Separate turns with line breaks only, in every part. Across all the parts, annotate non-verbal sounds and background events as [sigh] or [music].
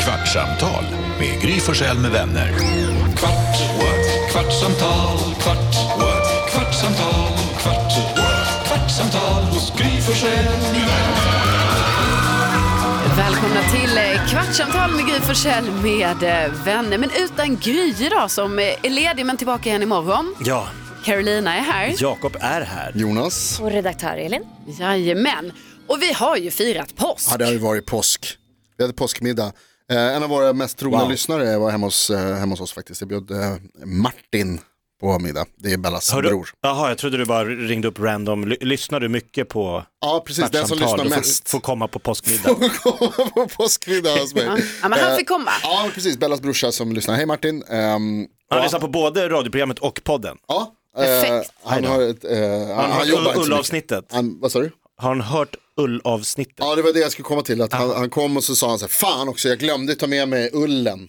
Kvartsamtal med Gry Forssell med vänner. Kvart, what? kvartsamtal, kvart, what? kvartsamtal, kvart, what? kvartsamtal hos Gry Forssell med vänner.
Välkomna till eh, Kvartsamtal med Gry Forssell med eh, vänner. Men utan Gry idag som eh, är ledig men tillbaka igen imorgon.
Ja,
Carolina är här.
Jakob är här.
Jonas?
Och redaktör Elin.
Jajamän. Och vi har ju firat påsk.
Ja, det har ju varit påsk. Vi hade påskmiddag. Eh, en av våra mest trogna
Wow.
lyssnare var hemma hos, eh, hemma hos oss faktiskt. Jag bjöd eh, Martin på middag. Det är Bellas
Hör du,
bror.
jaha, jag trodde du bara ringde upp random. Ly- Lyssnar du mycket på
Ja, precis. Den som
kvartsamtal
lyssnar
och får-
mest
får komma på påskmiddag?
komma [laughs] på påskmiddag hos mig.
Ja, men han
Eh,
fick komma.
Ja, precis. Bellas brorsa som lyssnar. Hej Martin. Ehm,
Han
ja,
lyssnar på både radioprogrammet och podden.
ja, eh,
Perfekt.
han har ett... eh, han,
Har
han
han
jobbar
hört
inte så mycket.
ullavsnittet?
Han, vad sa du?
Har han hört ullavsnittet?
Ja, det var det jag skulle komma till. Att han, han kom och så sa han så här, fan också, jag glömde ta med mig ullen.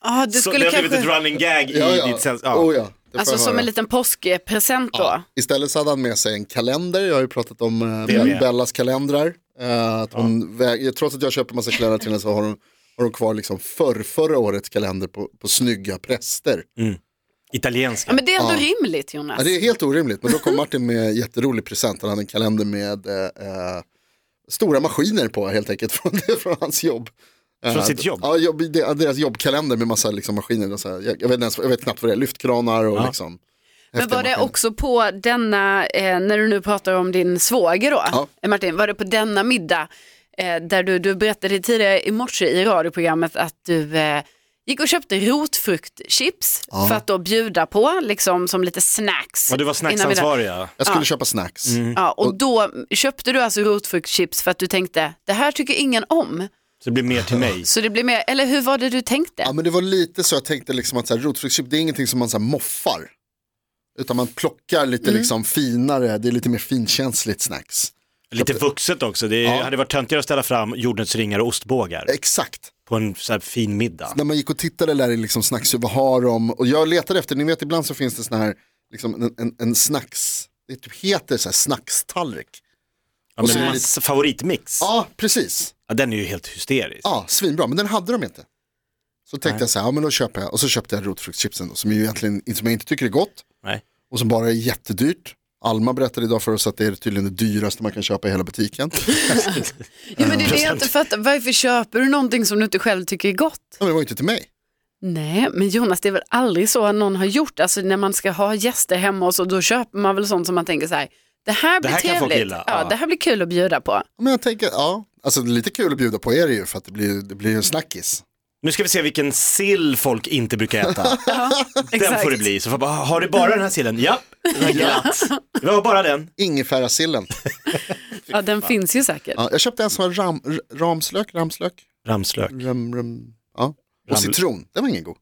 Ah, du
så det
skulle
har blivit
kanske...
ett running gag i
Ja, ja.
ditt sens. Ja.
Oh, ja. Det får
Alltså
jag
som
höra.
en liten påskpresent då.
Istället så hade han med sig en kalender. Jag har ju pratat om eh,
Det med.
Bellas kalendrar. Eh, att hon väg, trots att jag köper massa kläder till henne så har hon, har hon kvar liksom förr, förra årets kalender på, på snygga präster.
Mm.
Ja,
Italienska.
men det är ändå rimligt Jonas.
Ja, det är helt orimligt. Men då kom Martin med en jätterolig present. Han hade en kalender med eh, eh, stora maskiner på helt enkelt [laughs] från, från hans jobb. Eh,
Från sitt jobb?
Ja, jobb, de- deras jobbkalender med massa liksom, maskiner. Och så här. Jag, jag, vet inte ens, jag vet knappt vad det är, lyftkranar och liksom.
Men
häftiga
var det
maskiner.
också på denna, eh, när du nu pratar om din svåger då,
Ja.
eh, Martin, var det på denna middag eh, där du, du berättade tidigare i morse i radioprogrammet att du eh, gick och köpte rotfruktchips för att då bjuda på, liksom som lite snacks.
Ja, du var
innan middagen.
snacksansvarig. ja.
Jag skulle köpa snacks.
Mm.
Ja, och då köpte du alltså rotfruktchips för att du tänkte, det här tycker ingen om.
Så det blir mer till mig.
Så det blir mer, eller hur var det du tänkte?
Ja men det var lite så jag tänkte liksom att så här, rotfruktschips det är ingenting som man så här, moffar. Utan man plockar lite liksom finare, det är lite mer finkänsligt snacks.
Lite vuxet också. Det är, hade varit töntigare att ställa fram jordnötsringar och ostbågar
Exakt.
på en så här fin middag.
När man gick och tittade där i liksom snacks, vad har de? Och jag letade efter, ni vet ibland så finns det sån här, liksom en, en, en snacks, det typ heter så här snackstallrik.
Ja, men
så är det
hans favoritmix.
Ja, precis.
Ja, den är ju helt hysterisk.
Ja, svinbra, men den hade de inte. Så tänkte jag så här, ja men då köper jag, och så köpte jag rotfruktschipsen då, som ju egentligen, som jag inte tycker är gott.
Nej.
Och som bara är jättedyrt. Alma berättade idag för oss att det är tydligen det dyraste man kan köpa i
[laughs]
hela butiken. Nej,
ja, men det är det jag inte fattar, varför köper du någonting som du inte själv tycker är gott?
men det var ju inte till mig.
Nej, men Jonas, det är väl aldrig så att någon har gjort, alltså när man ska ha gäster hemma och så, då köper man väl sånt som man tänker så här, det här blir
här kan folk
trevligt,
gilla,
ja,
ja.
det här blir kul att bjuda på.
Ja, Men jag tänker, ja, alltså det är lite kul att bjuda på er ju för att det blir, det blir ju en snackis.
Nu ska vi se vilken sill folk inte brukar äta.
[laughs]
den
exakt.
får det bli. Så får jag bara, har du bara den här sillen? Japp, den här glatt. Det var bara den.
Ingefärasillen.
Ja, den finns ju säkert.
Ja, jag köpte en som var ram, r- ramslök, ramslök,
Ramslök.
ram, ram, ja.
Ram-
och citron. Den var ingen god.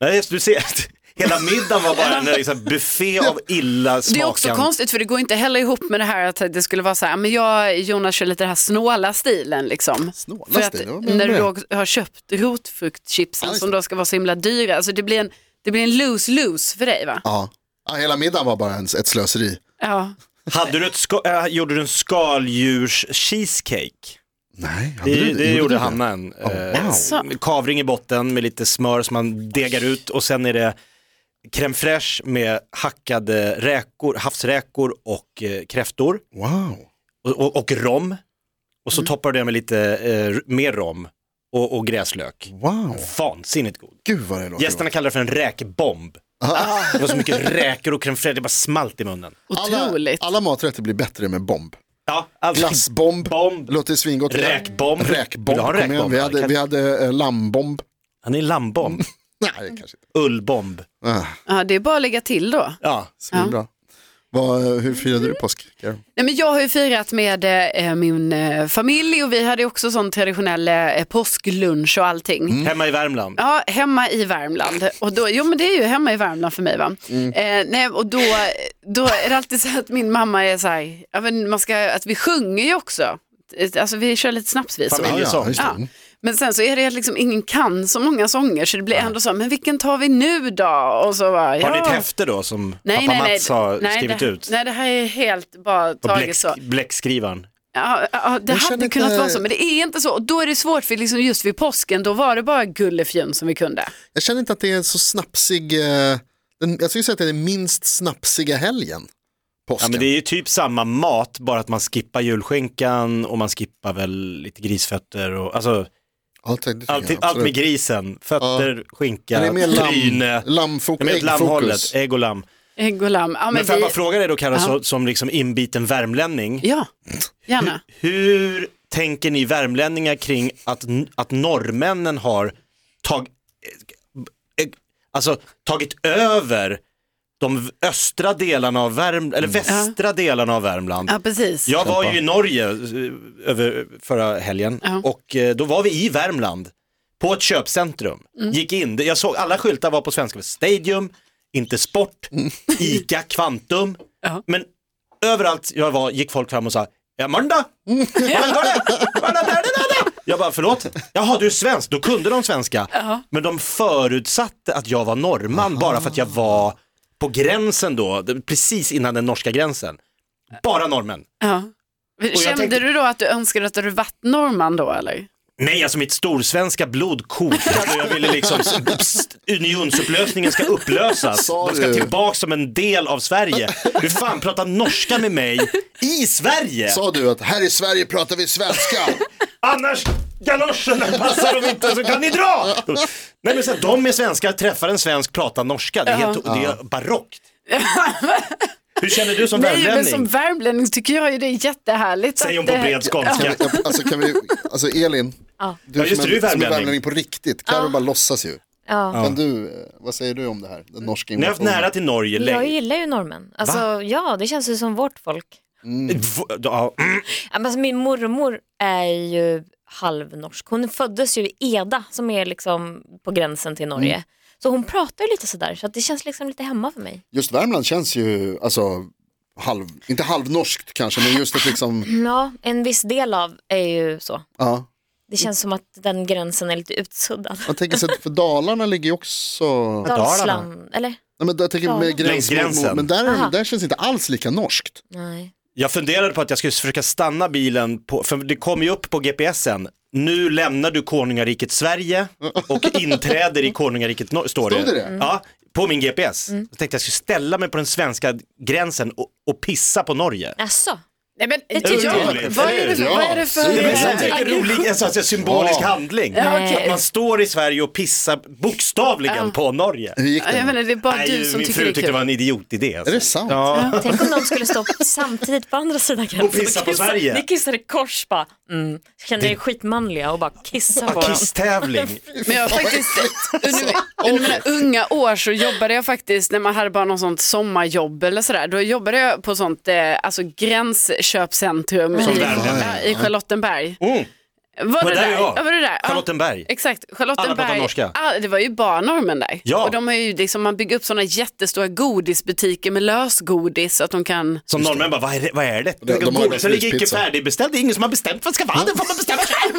Nej, just, du ser, [laughs] hela middagen var bara en liksom, buffé av illa
Det är också
smakande.
konstigt för det går inte heller ihop med det här att det skulle vara så här, men jag, Jonas kör lite den här snåla stilen liksom.
Snåla
för att
stil, vad menar
när du
du
då
med
har köpt rotfruktchipsen
Ja, just
som
det.
då ska vara så himla dyra, alltså det blir en, det blir en lose-lose för dig va?
Ja. Ja, hela middagen var bara en, ett slöseri.
Ja.
Hade du ett ska, äh, gjorde du en skaldjurs-cheesecake?
Nej, hade
Det,
du-
det, gjorde
du
Hanna en. eh,
wow.
med Kavring i botten med lite smör som man degar ut och sen är det crème fraîche med hackade räkor, havsräkor och eh, kräftor.
Wow.
och, och, och rom. Och så
Mm.
toppar du det med lite eh, r- mer rom och, och gräslök.
Wow.
Vansinnigt god.
Gud vad det låter.
Gästerna kallar det för en räkbomb.
Ah.
Det var så mycket räkor och crème fraîche, det bara smalt i munnen.
alla,
Otroligt.
alla maträtter blir bättre med bomb.
Ja, alltså,
Glassbomb,
Bomb.
låter
[laughs]
svingott.
Räkbomb. Vill
Räkbomb,
du ha en räkbomb?
kom igen. Vi
Ja,
hade,
kan-
vi hade eh, lammbomb.
Han
[laughs]
är lammbomb,
Nej, kanske inte.
ullbomb.
Ah,
Ja, det är bara att lägga till då.
Ja. Mm.
svinbra. Vad, eh, hur firade du påsk? Karo?
Nej, men jag har ju firat med eh, min eh, familj och vi hade också sån traditionell eh, påsklunch och allting.
Hemma i Värmland.
Mm. Ja, hemma i Värmland. Och då, jo men det är ju hemma i Värmland för mig va.
Mm.
Eh, nej, och då, då är det alltid så här att min mamma är så här, ja, men man ska, att vi sjunger ju också. Eh, Alltså vi kör lite snapsvisor.
Familj. Familjesång.
just
Ja.
det.
Men sen så är det liksom ingen kan så många sånger så det blir ändå så, men vilken tar vi nu då? Och så bara, ja.
Har ni ett häfte då som pappa Mats har
nej,
skrivit
det,
ut?
Nej, det här är helt bara
På
taget
bläck,
så.
bläckskrivaren.
Ja, ja, det
Jag
hade
känner
kunnat
inte-
vara så, men det är inte så. Och då är det svårt, för liksom just vid påsken, då var det bara gullefjun som vi kunde.
Jag känner inte att det är så snapsig, eh, den, jag skulle säga att det är den minst snapsiga helgen.
Ja,
Påsken.
men det är ju typ samma mat, bara att man skippar julskinkan och man skippar väl lite grisfötter och alltså
allt, det tycker
allt,
jag,
allt med
absolut.
grisen. Fötter, skinka,
Men det är mer lamm-
tryne.
lammfok-
Det är mer åt
äggfokus.
lammhållet, ägg och lamm.
Ägg och lamm. Ja, men
Men får jag
vi...
bara fråga dig då Carro,
Ja.
så- som liksom inbiten värmlänning.
ja, gärna.
Hur tänker ni värmlänningar kring att, n- att norrmännen har tag, eh, eh, alltså, tagit över de v- östra delarna av Värmland,
Mm.
eller västra delarna av Värmland?
Ja, precis.
Jag var ju i Norge eh, över förra helgen
Ja.
och eh, då var vi i Värmland på ett köpcentrum.
Mm.
Gick in, jag såg alla skyltar var på svenska, Stadium, inte sport, [laughs] Ica, Kvantum.
Mm. Ja.
Men överallt jag var gick folk fram och sa,
[laughs]
ja måndag, jag bara förlåt, jaha du är svensk, då kunde de svenska. Men de förutsatte att jag var norrman bara för att jag var på gränsen då, precis innan den norska gränsen. Bara norrmän.
Ja.
jag
Kände
tänkte-
du då att du önskade att du hade varit norrman då, eller?
Nej, alltså mitt storsvenska blod kokade och jag ville liksom, pst, unionsupplösningen ska upplösas.
Sa
De ska
du?
tillbaka som en del av Sverige. Hur fan pratar norska med mig i Sverige?
Sa du att här i Sverige pratar
[laughs]
vi svenska?
Annars, galoscherna passar dem inte så kan ni dra! Nej men så här, de är svenskar, träffar en svensk, pratar norska. Det är, helt, det är barockt. Hur känner du som
Nej, men
värmlänning?
som värmlänning tycker jag ju det är jättehärligt.
Säger hon
att
på
det-
bred skånska.
[laughs] Ja, alltså, kan vi, alltså Elin,
Ja, just
som,
det, du är
som är
värmlänning.
värmlänning på riktigt, Carro bara låtsas ju.
Ja.
Men du, eh, vad säger du om det här? Den norska
Ni har haft nära till Norge
Jag
länge.
gillar ju normen. Alltså, ja, det känns ju som vårt folk.
V- ja, mm.
Ja, men Alltså, min mormor är ju halvnorsk. Hon föddes ju i Eda som är liksom på gränsen till Norge. Så hon pratar ju lite sådär så att det känns liksom lite hemma för mig.
Just Värmland känns ju, alltså, halv, inte halvnorskt kanske, men just att liksom,
Ja, en viss del av är ju så.
ja.
Det känns som att den gränsen är lite utsuddad.
Man tänker sig att för Dalarna ligger ju också, nej
Dalarna.
Dalsland, eller?
men jag tänker med
Längs
gräns,
gränsen.
men där, är-
Aha.
där känns det inte alls lika norskt.
Nej.
Jag funderade på att jag skulle försöka stanna bilen, på, för det kom ju upp på GPSen. Nu lämnar du konungariket Sverige och
[laughs]
inträder i konungariket Norge, står det.
Stod det det?
Ja, på min GPS.
Mm.
Jag tänkte jag skulle ställa mig på den svenska gränsen och, och pissa på Norge.
Alltså,
Nej, men,
Det tycker
jag,
jag.
vad, är det för, vad är det för...
Nej, men jag tänker rolig, en sån här symbolisk
Ja.
handling.
Ja, okej.
Att man står i Sverige och pissar bokstavligen på Norge.
Hur gick
Ja, Jag
det?
menar, det är bara
Nej,
du som
min
tycker
fru
det är
tyckte det
kul.
var en idiotidé.
Är
Alltså.
det sant?
Ja.
tänk om de skulle stå samtidigt på andra sidan gränsen
Och pissa på
kissa.
Sverige.
Ni kissar i kors bara. Mm. Känner er skitmanliga och bara kissar på
[laughs]
dem.
Kisstävling.
Men jag har faktiskt, under, under mina unga år så jobbade jag faktiskt, när man hade bara något sånt sommarjobb eller sådär, då jobbade jag på sånt eh, alltså gränsköpcentrum i,
Värmland.
ja, i Charlottenberg.
Mm.
Var,
Var
det
där
där?
jag?
Ja, var det där? Ja,
Charlottenberg.
Exakt, Charlottenberg.
Alla pratar norska.
Ah, det var ju bara norrmän där.
Ja.
Och de har ju liksom, man bygger upp sådana jättestora godisbutiker med lösgodis så att de kan...
Som norrmän bara, vad är det? Vad är det?
de har
Godisen ligger icke
prispizza.
färdigbeställd, det är ingen som har bestämt vad det ska vara, det får man [laughs] bestämma själv.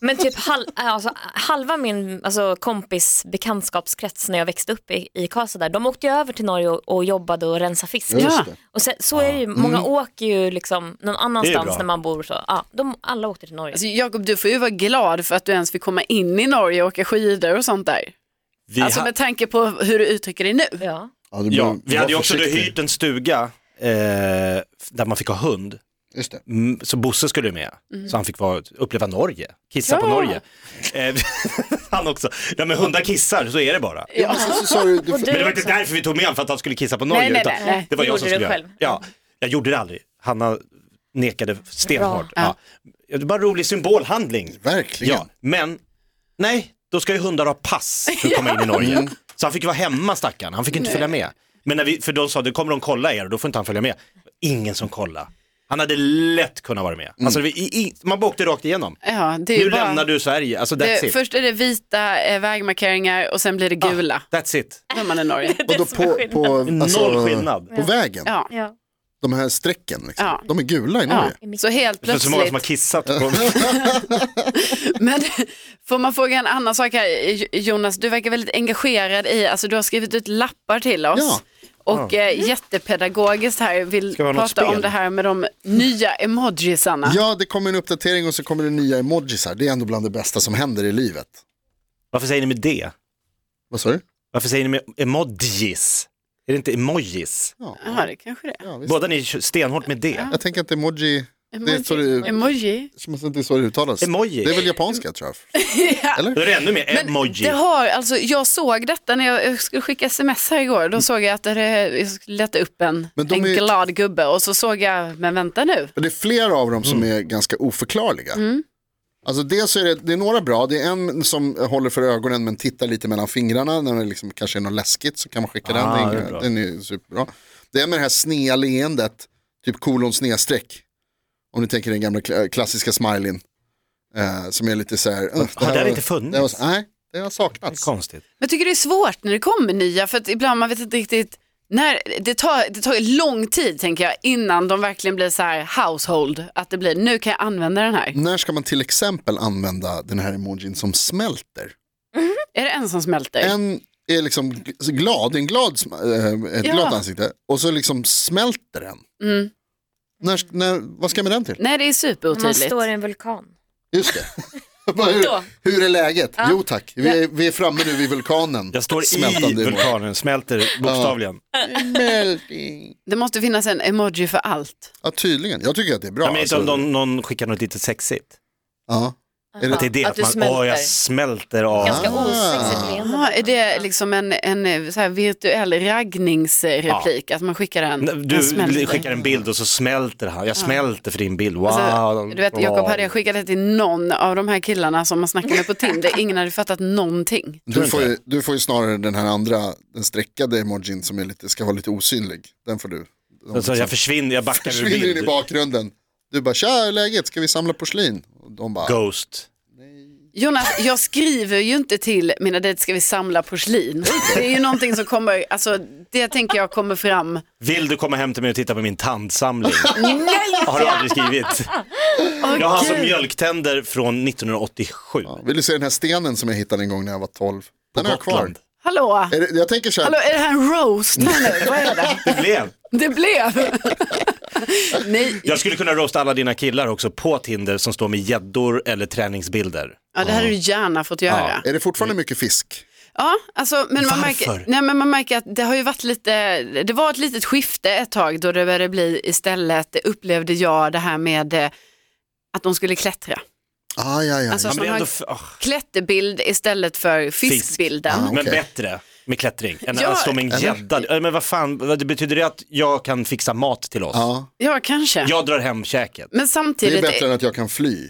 Men typ hal alltså, halva min alltså, kompis bekantskapskrets när jag växte upp i, i Karlstad där, de åkte ju över till Norge och, och jobbade och rensade fisk.
Ja.
Och sen, så är det ju, många åker ju liksom någon
bra.
annanstans när man bor så. Ja, de, alla åkte till Norge.
Alltså, Jakob, du får ju vara glad för att du ens fick komma in i Norge och åka skidor och sånt där.
Vi,
Alltså
ha-
med tanke på hur du uttrycker dig nu.
Ja.
Ja, du
ja,
bör-
vi
var
hade ju också
försiktig.
hyrt en stuga eh, där man fick ha hund.
Just det.
Mm, Så Bosse skulle ju med, så han fick vara, uppleva Norge, kissa på
Ja.
Norge. Eh, [laughs] han också, ja men hundar kissar, så är det bara.
Ja, men sen så sa du, du,
Men det var inte därför vi tog med honom, för att han skulle kissa på Norge.
Nej, nej,
utan
nej, nej.
Det var
Det
jag som
gjorde
skulle göra
du själv.
det. Ja, jag gjorde det aldrig. Hanna nekade stenhårt.
Bra.
Ja. Det var bara en rolig symbolhandling.
verkligen.
Ja, men nej, då ska ju hundar ha pass för att komma in i Norge. Så han fick ju vara hemma stackaren, han fick ju inte följa med. Men när vi, för de sa, då kommer de kolla er och då får inte han följa med. Ingen som kollade. Han hade lätt kunnat vara med. Alltså, vi, i, i, man bara åkte rakt igenom.
Ja, Eh, det är
Nu
ju bara...
lämnar du Sverige, alltså that's
det,
it.
först är det vita eh, vägmarkeringar och sen blir det gula.
That's it.
Då är man i Norge.
Och då på, på, Alltså-
Noll skillnad.
på vägen,
Ja.
Ja.
de här strecken, liksom.
Ja.
de är gula i
Ja.
Norge.
Så helt
Det är så många som har
plötsligt.
kissat på...
Men [laughs] får man fråga en annan eh, sak här, J- Jonas, du verkar väldigt engagerad i, alltså du har skrivit ut lappar till oss.
Ja.
Och eh, jättepedagogiskt här vill
Ska vi ha något
prata om
spel?
det här med de nya emojisarna.
Ja, det kommer en uppdatering och så kommer det nya emojis här. Det är ändå bland det bästa som händer i livet.
Varför säger ni med det?
Vad sa du?
Varför säger ni med emojis? Är det inte emojis?
Ja,
Ja, det kanske det är.
ja, visst.
Båda ni kör stenhårt med det.
Jag tänker att emoji, det är så
Emoji.
det,
Emoji.
som att det är så det uttalas.
Emoji.
Det är väl japanska tror jag.
Mm.
Då är det ännu mer
Men
emoji.
det har, alltså, jag såg detta när jag, jag skulle skicka sms här igår. Då såg jag att det, jag skulle leta upp en,
Men de
en
är-
glad gubbe och så såg jag, men vänta nu.
Och det är flera av dem
Mm.
som är ganska oförklarliga.
Mm.
Alltså dels är det, det är några bra, det är en som håller för ögonen men tittar lite mellan fingrarna när det liksom kanske är något läskigt så kan man skicka
Ah,
den,
det
det
är
är,
bra.
den är ju superbra. Det är med det här snea leendet, typ kolon snedstreck. Om ni tänker den gamla kla- klassiska smileyn. Eh, som är lite så här. "Ugh,
det har
var-
inte funnits?"
Det var, nej, det har
Det är
saknats.
Konstigt.
Men jag tycker det är svårt när det kommer nya för att ibland man vet inte riktigt när, det, tar, det tar ju lång tid tänker jag innan de verkligen blir så här household. Att det blir nu kan jag använda den här.
När ska man till exempel använda den här emojin som smälter?
Är det en som smälter?
En är liksom gl- glad, det är en glad, sm- eh, ett
Ja.
glatt ansikte och så liksom smälter den.
Mm.
När, när, vad ska jag med den till?
Nej det är
När man
superotydligt.
står i en vulkan.
[laughs]
Just det. Bara, hur,
Då.
hur är läget? Jo tack, vi är, vi är framme nu vid vulkanen.
Jag står i
Smältande emot.
vulkanen, smälter bokstavligen.
Melting.
Det måste finnas en emoji för allt.
Ja tydligen, jag tycker att det är bra.
Ja, men inte om
alltså.
någon, någon skickar något lite sexigt.
ja. Är
Att det
det,
är det,
Att
att,
du
man,
smälter.
åh jag smälter av.
Ganska
Ah.
osexigt
Jaha, är
leende.
det liksom en, en eh, så här virtuell raggningsreplik? Att man skickar en, en
Du
smälter?
skickar en bild och så smälter han. Jag smälter för din bild. Wow.
Alltså, du vet Jakob, hade jag skickat
skickat
det till någon av de här killarna som man snackar med på Tinder, [laughs] ingen hade fattat någonting.
du, får ju, du får ju snarare den här andra, den streckade emojin som är lite, ska vara lite osynlig. Den får du. De
alltså,
liksom
jag försvinner, jag backar ur
försvinner in i
bild.
bakgrunden. Du bara, tja hur är läget, ska vi samla porslin? Och de bara,
Ghost.
Jonas, jag skriver ju inte till mina dejter, ska vi samla porslin? Det är ju någonting som kommer, alltså det tänker jag kommer fram.
Vill du komma hem till mig och titta på min tandsamling? Har du aldrig skrivit. Jag har alltså mjölktänder från 1987.
Ja, Vill du se den här stenen som jag hittade en gång när jag var 12? Den har jag kvar.
Gotland.
Hallå?
Är det, jag tänker så här,
Hallå, är det här en roast här nu? Vad är det? [laughs]
Det blev.
Det blev. [laughs] Nej,
Jag skulle kunna roasta alla dina killar också på Tinder som står med gäddor eller träningsbilder.
ja, det hade du gärna fått göra.
är det fortfarande mycket fisk?
Ja, alltså, men, man märker,
Varför?
nej, men man märker att det har ju varit lite, det var ett litet skifte ett tag då det började bli istället, upplevde jag det här med eh, att de skulle klättra.
Ah, ja, ja,
Alltså,
ja.
Ja, men det är
man
ändå
har
f- ah,
klätterbild istället för fiskbilden.
Ja.
men
okej.
bättre med klättring än
Ja,
att stå med en
eller?
gädda. Ja, Men vad fan, vad- det betyder det att jag kan fixa mat till oss?
ja.
Ja, kanske.
Jag drar hem käket.
Men
Det är
samtidigt,
bättre än att jag kan fly.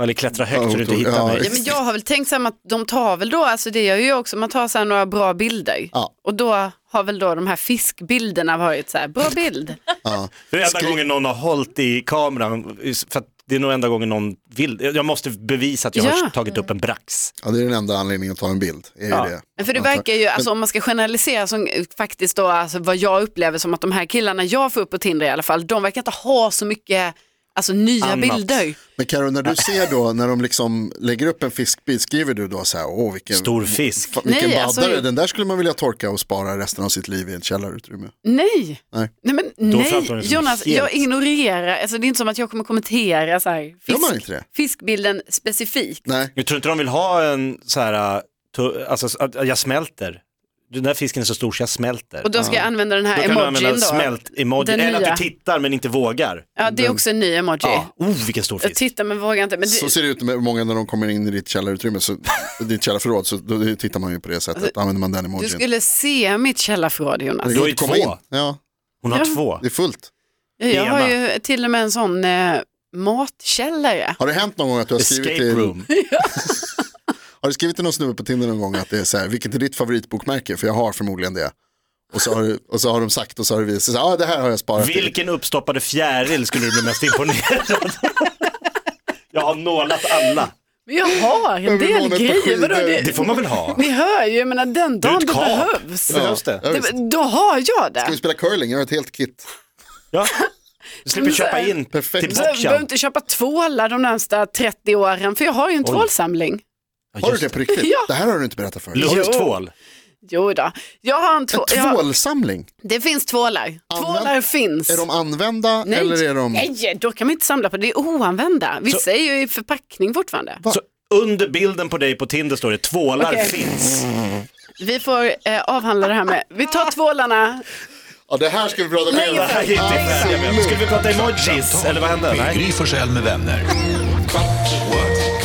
Eller klättra högt så du inte
Ja,
hittar
ja,
mig.
ja, men jag har väl tänkt så här att de tar väl då, alltså det gör ju jag också, man tar så här några bra bilder.
Ja.
Och då har väl då de här fiskbilderna varit så här, bra bild.
Ja.
Det är enda
Skri-
gången någon har hållit i kameran. För att det är nog enda gången någon vill. Jag måste bevisa att jag
Ja.
har tagit upp en brax.
ja, det är den enda anledningen att ta en bild. Är ju
Ja.
det.
Men För det verkar ju, alltså, om man ska generalisera, som faktiskt då, alltså, vad jag upplever som att de här killarna jag får upp på Tinder i alla fall, de verkar inte ha så mycket alltså, nya
Annat.
bilder.
Men Karo, när du ser då, när de liksom lägger upp en fiskbild, skriver du då så här, åh vilken,
Stor fisk.
fa- vilken
Nej,
baddare,
alltså-
den där skulle man vilja torka och spara resten av sitt liv i ett källarutrymme.
Nej,
Nej.
nej men nej,
framstår det som
Jonas,
helt-
jag ignorerar, alltså, det är inte som att jag kommer kommentera så här,
Gör man
fisk,
inte det?
fiskbilden specifikt.
Nej,
Jag tror inte de vill ha en så här, äh, tu- alltså att jag smälter. Den där fisken är så stor så jag smälter.
Och då ska jag använda den
Då
här
kan du
emojin
använda
då.
smält-emoji.
Den
Eller
nya.
att du tittar men inte vågar.
Ja, det är också en ny emoji.
Ja, oh, vilken stor
Jag
fisk.
tittar men vågar inte. Men det,
Mm. så ser det ut med många när de kommer in i ditt källarutrymme, så, ditt källarförråd, så då tittar man ju på det sättet, använder man den
Alltså, du
emojin.
skulle se mitt källarförråd Jonas.
Det går
Du har
inte att
ju
komma
två.
in. Ja,
Hon har
Ja.
två.
det är fullt.
Jag har
Bena.
ju till och med en sån eh, matkällare.
Har det hänt någon gång att du har skrivit
Escape
till,
room.
har du skrivit till någon snubbe på Tinder någon gång att det är så här, vilket är ditt favoritbokmärke? För jag har förmodligen det. Och så har, du- och så har de sagt och så har det visat sig, ja ah, det här har jag sparat till."
Vilken uppstoppade fjäril skulle du bli mest imponerad av? [laughs] Jag har nålat alla.
Men jag har en
Över
del
månen på
grejer. Vadå,
skidor.
det,
Det får man väl ha?
Ni hör ju, jag menar den dagen
ett
det
kap.
behövs.
Det behövs det.
Ja, visst.
Det, då har jag
Ska vi
det.
spela curling? Jag har ett helt kit.
Ja. Du slipper köpa in
Perfekt.
till
Så Jag behöver
bockan.
inte köpa tvålar de närmsta 30 åren för jag har ju en tvålsamling.
Har du det på riktigt?
Ja.
Det här har du inte berättat förut.
Lugnt tvål.
Jo då. Jag har en två,
En
jag har-
tvålsamling,
Det finns tvålar. Tvålar finns.
är de använda eller är de...
Nej, då kan man inte samla på det. Det är oanvända. Vissa är ju i förpackning fortfarande.
Så under bilden på dig på Tinder står det tvålar
Okej.
finns.
Vi får eh, avhandla det här med. Vi tar tvålarna.
Ja, det här ska vi prata mer om.
Det här är inte färdiga med. Skulle vi prata emojis eller vad hände?
Med
Nej.
Gry Forssell med vänner. Kvart, what?